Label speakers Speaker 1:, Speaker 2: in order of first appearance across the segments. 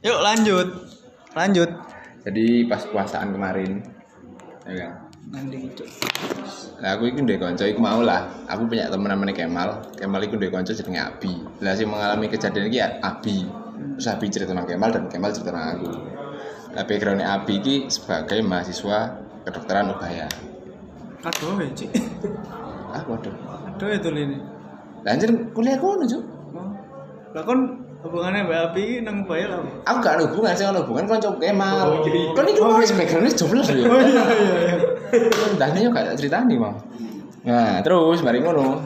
Speaker 1: Yuk lanjut. Lanjut.
Speaker 2: Jadi pas puasaan kemarin, ya kan?
Speaker 1: Mending cuk.
Speaker 2: Nah, aku itu ndek kanca iku mau lah. Aku punya temen namanya Kemal. Kemal iku ndek kanca jenenge Abi. Lah sing mengalami kejadian iki ya Abi. Terus Abi cerita nang Kemal dan Kemal cerita nang aku. Nah, backgroundnya Abi iki sebagai mahasiswa kedokteran Ubaya.
Speaker 1: Aduh, weh, cik.
Speaker 2: Ah, waduh.
Speaker 1: Aduh itu ini.
Speaker 2: Lah anjir kuliah kono, Cuk.
Speaker 1: Oh. Lah kon hubungannya Mbak Abi nang bayi lah. Bu.
Speaker 2: Aku gak ada hubungan, saya ada hubungan kanca Kemal.
Speaker 1: Oh, iya.
Speaker 2: Kan iki
Speaker 1: Oh,
Speaker 2: wis backgroundnya jomblo ya.
Speaker 1: Oh iya iya iya.
Speaker 2: Tandanya gak ceritani, Bang. Nah, terus mari ngono.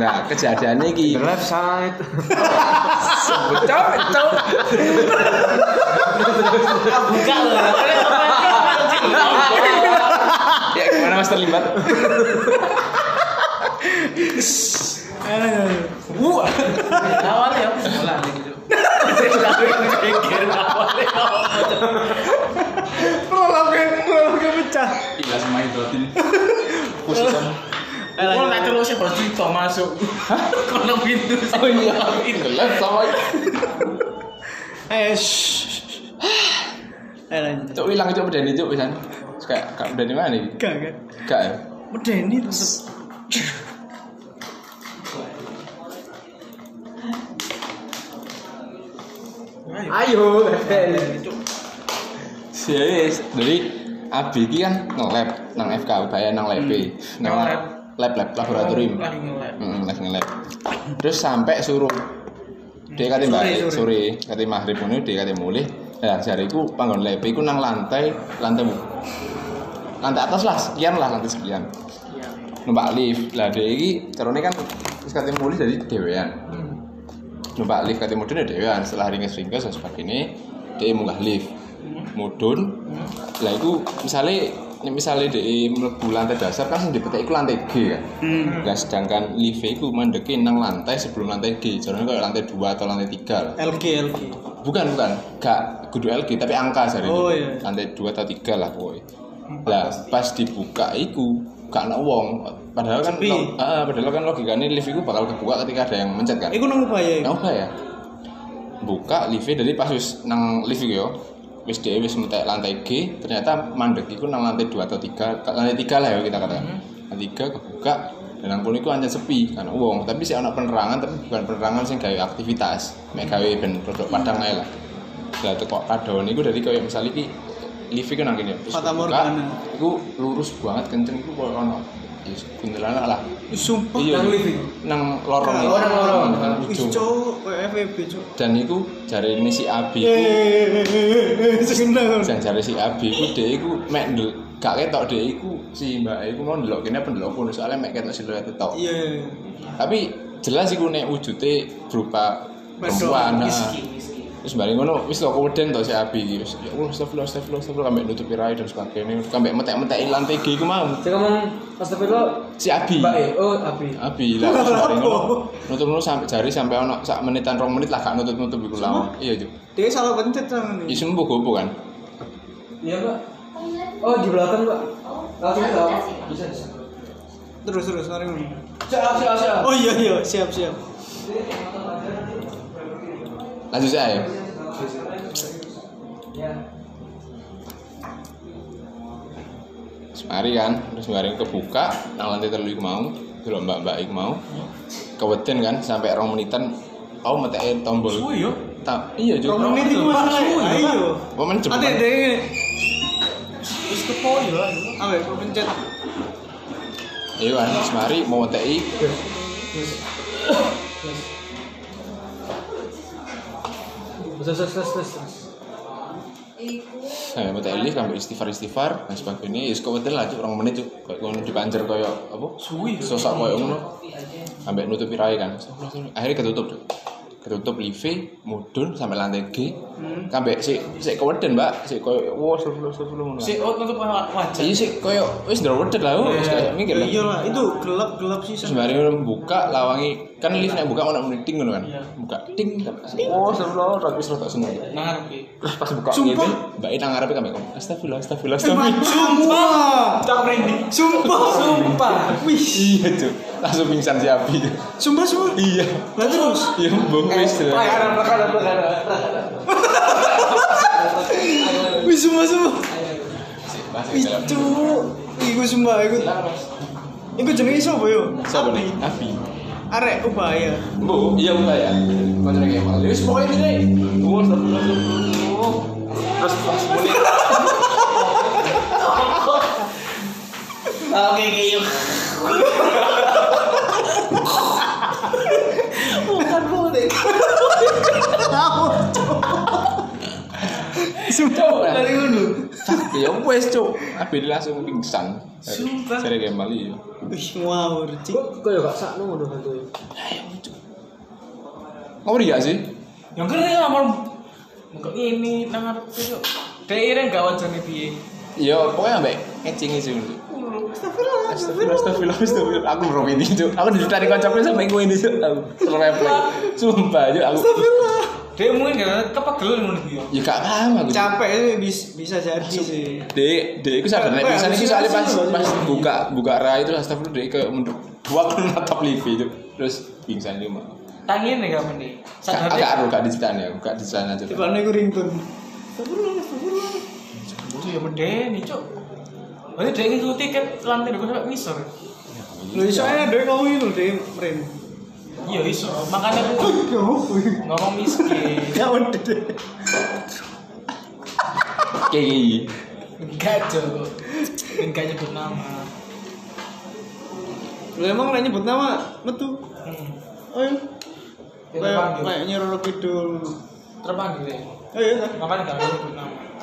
Speaker 2: Nah, kejadiannya iki.
Speaker 3: The left side.
Speaker 1: Buka lah.
Speaker 2: Ya, gimana Mas terlibat?
Speaker 1: Ayo, ayo, ayo. Wah.
Speaker 4: awalnya aku sekolah nih gitu tapi mikir awalnya
Speaker 1: Prolognya prolognya pecah.
Speaker 3: Iya sama hidrotin.
Speaker 2: khususan
Speaker 1: iya.
Speaker 4: kalau tak terus ya pasti toh masuk kalau pintu
Speaker 2: oh iya itu lah sama
Speaker 1: Eh. shh. iya. Ayo lanjut.
Speaker 2: cok hilang cok bedani cok pisan kayak kayak bedani mana ini
Speaker 1: Gak kan.
Speaker 2: gak ya
Speaker 1: Medeni tetep.
Speaker 3: Ayo.
Speaker 2: serius jadi Abi ini kan nge-lab nang FK Ubaya nang lab e. Hmm, nang
Speaker 4: Nge-lab.
Speaker 2: lab lab laboratorium Hmm,
Speaker 4: lagi ngelek
Speaker 2: Heeh, lagi nge-lab terus sampai suruh dia kata mbak Hmm, sore kata maghrib ini dia kata mulih nah jari ku panggon lab ku nang lantai lantai lantai atas lah sekian lah lantai sekian
Speaker 4: iya
Speaker 2: numpak lift lah dia ini caranya kan terus kata mulih jadi dewean numpak lift kate mudun ya dhewean setelah ringkes-ringkes dan sebagainya dia munggah lift mudun lah itu misalnya misalnya dia mlebu lantai dasar kan sing dipetek iku lantai G kan
Speaker 1: Hmm.
Speaker 2: lah sedangkan lift itu mendekin nang lantai sebelum lantai G caranya kayak lantai 2 atau lantai 3 lah
Speaker 1: LG LG.
Speaker 2: bukan bukan gak kudu LG tapi angka sari
Speaker 1: Oh, iya.
Speaker 2: lantai 2 atau 3 lah pokoknya lah pas dibuka iku gak ana wong padahal kan
Speaker 1: Sepi.
Speaker 2: lo- ah, padahal kan logikanya lift itu bakal kebuka ketika ada yang mencet kan
Speaker 1: Iku nang bayi.
Speaker 2: Nang apa ya? Buka lift dari pas wis nang lift iku ya. Wis dhewe wis metek lantai G, ternyata mandek iku nang lantai 2 atau 3, lantai 3 lah ya kita katakan.
Speaker 1: Mhm.
Speaker 2: Lantai 3 kebuka dan nang kono iku anjen sepi kan wong, tapi sih ana penerangan tapi bukan penerangan sing gawe aktivitas, mek gawe ben rodok
Speaker 1: Iya.
Speaker 2: padang ae lah. Lah teko padon iku dari koyo misal iki lift iku nang kene. terus
Speaker 1: Fata
Speaker 2: kebuka,
Speaker 1: Morgana.
Speaker 2: Iku lurus banget kenceng iku koyo ono. Yes, kundelana lah.
Speaker 1: Sumpah.
Speaker 2: Iya,
Speaker 1: Nang
Speaker 2: iya.
Speaker 1: lift.
Speaker 2: nang lorong.
Speaker 1: Nang lorong,
Speaker 2: lorong. Nang
Speaker 1: Ih,
Speaker 2: ujung
Speaker 1: cuk, kayak FWB, cuk.
Speaker 2: dan iku jari ini si Abi iku
Speaker 1: Eh,
Speaker 2: dan jari si Abi iku dia iku mek ndel- gak ketok dia iku si mbak E iku mau ndelok kene apa ndelok kono soalnya mek ketok siluet tok
Speaker 1: Iya. 예.
Speaker 2: tapi jelas iku nek wujude berupa
Speaker 1: Wedok,
Speaker 2: perempuan nah. terus balik ngono wis kok kuden tok si Abi iki wis ya Allah astagfirullah astagfirullah astagfirullah ambek nutupi rai dan sebagainya ambek metek-metek lantai G iku mau
Speaker 3: Saya ngomong astagfirullah.
Speaker 2: si Abi
Speaker 3: Mbak E, oh Abi.
Speaker 2: Abi lah terus balik ngono nutup ngono sampai jari sampai ono sak menitan rong menit lah gak nutut-nutup iku lah iya Cuk
Speaker 1: Dia salah pencet sama ini.
Speaker 2: isu mbok gopo kan
Speaker 3: Iya Mbak. Oh di belakang Mbak. Langsung tahu. Bisa bisa.
Speaker 1: Terus terus mari ngono.
Speaker 3: Siap siap
Speaker 4: 아.
Speaker 3: siap.
Speaker 1: Oh iya iya, siap siap.
Speaker 2: lanjut saya ya Semari kan, terus semari kebuka, nang lantai telu iku mau, delok mbak-mbak iku mau. Keweden kan sampai rong menitan aku meteke tombol.
Speaker 4: oh iya
Speaker 2: Ta- iya juga.
Speaker 1: Rong menit iku masalah. Ayo.
Speaker 2: Momen jebul. kan?
Speaker 1: Ate deh.
Speaker 4: terus kepo ya lah
Speaker 1: Ambek pencet.
Speaker 2: Iya kan, semari mau meteki.
Speaker 3: Terus terus terus terus, terus.
Speaker 2: Saya meteki lift sampai istighfar-istighfar dan sebagainya. Ya, Wis keweden lah cuk rong menit cuk. Kayak ngono dipanjer koyo apa?
Speaker 4: Suwi.
Speaker 2: Sosok koyo ngono. Sampai nutupi rai kan. Akhirnya ketutup cuk. Ketutup lift mudun sampai lantai G. Sampai sik sik keweden, Mbak. Sik koyo wah sulu-sulu ngono.
Speaker 4: si oh tutup wajah
Speaker 2: Iya sih, koyo wis ndro wedet lah, oh, wis kayak mikir lah.
Speaker 1: Iya lah, itu gelap-gelap sih.
Speaker 2: Terus mari orang buka lawangi kan lift nek buka ono muni ting ngono kan.
Speaker 4: Iya.
Speaker 2: Buka ting. Oh, seru tapi wis rada seneng.
Speaker 4: ngarep ya
Speaker 2: Terus pas buka
Speaker 1: Sumpah. Eh,
Speaker 2: ngene, mbak Ina ngarepe kami kom. Astagfirullah, astagfirullah,
Speaker 1: Sumpah.
Speaker 2: astagfirullah.
Speaker 1: Sumpah. Sumpah. Sumpah. Wih,
Speaker 2: Iya, Cuk. Langsung pingsan si Abi.
Speaker 1: sumpah sumpah.
Speaker 2: Iya.
Speaker 1: Lah terus. Eh,
Speaker 2: Iya, mbok wis.
Speaker 3: Pelakana pelakana pelakana.
Speaker 1: sumpah iku.
Speaker 2: Hilang, Mas.
Speaker 1: Iku jenenge sapa yo?
Speaker 2: Siapa nih? Abi.
Speaker 1: Arek oh, ubaya.
Speaker 2: Bu, iya buka ya. Kontrak yang malah. Wis pokoknya ini Oh, deh. Gua harus dapet dulu. Terus pas muni.
Speaker 4: Oke, oke, yuk.
Speaker 1: Bukan boleh. Tahu.
Speaker 2: Coba.
Speaker 1: Sumpah dari dulu.
Speaker 2: Ya wes cuk. Abi langsung pingsan.
Speaker 1: Sumpah.
Speaker 2: Cari yang malah iya.
Speaker 1: Wih, wow, recik.
Speaker 3: Kok kok ya gak sakno ngono bantuin.
Speaker 2: Kamu dia Oh, iya sih?
Speaker 4: Yang kene ya amal muka ini nang arep itu. Kayak gak wajane piye.
Speaker 2: Iya, pokoknya ambek kecingi sih.
Speaker 1: Astagfirullah.
Speaker 2: Astagfirullah, astagfirullah, astagfirullah. Aku belum ini cuk. Aku ditarik kocoknya sampai gue ini cuk. Aku terrefleks. Sumpah cuk aku.
Speaker 1: Astagfirullah.
Speaker 4: Dia mungkin gak kepegel ngono iki ya.
Speaker 2: Ya gak paham aku. Cuk.
Speaker 1: Capek sih bis- bisa jadi sih.
Speaker 2: Dek, dek iku sadar nek
Speaker 1: Kayak
Speaker 2: pisan iki soalnya pas
Speaker 1: halusinasi
Speaker 2: pas
Speaker 1: loh.
Speaker 2: buka buka rai itu astagfirullah dek kayak mundur. Dua kali natap live itu. Terus pingsan di rumah.
Speaker 4: Tangine gak mending.
Speaker 2: Gak-
Speaker 4: Sadar
Speaker 2: Agak aru gak diceritain ya, gak diceritain aja.
Speaker 1: Coba nih gue ringtone. Astagfirullah, astagfirullah.
Speaker 4: Itu ya medeni, Cuk. Berarti dia ini tuh tiket lantai dua sampai ngisor.
Speaker 1: Lu soalnya ada yang ngomong itu deh, Prim.
Speaker 4: Iya, iso. Makanya aku ngomong miskin.
Speaker 1: Ya udah deh.
Speaker 2: Kayak gini.
Speaker 4: Enggak, Cuk. Enggak nyebut nama.
Speaker 1: Lu emang nanya nyebut nama metu.
Speaker 4: Hmm.
Speaker 1: Ayo.
Speaker 4: Ya,
Speaker 1: Kayak
Speaker 4: dipanggil.
Speaker 1: kayak nyeroro kidul.
Speaker 4: Terpanggil ya.
Speaker 1: Ayo kan.
Speaker 4: Makanya gak nyebut nama.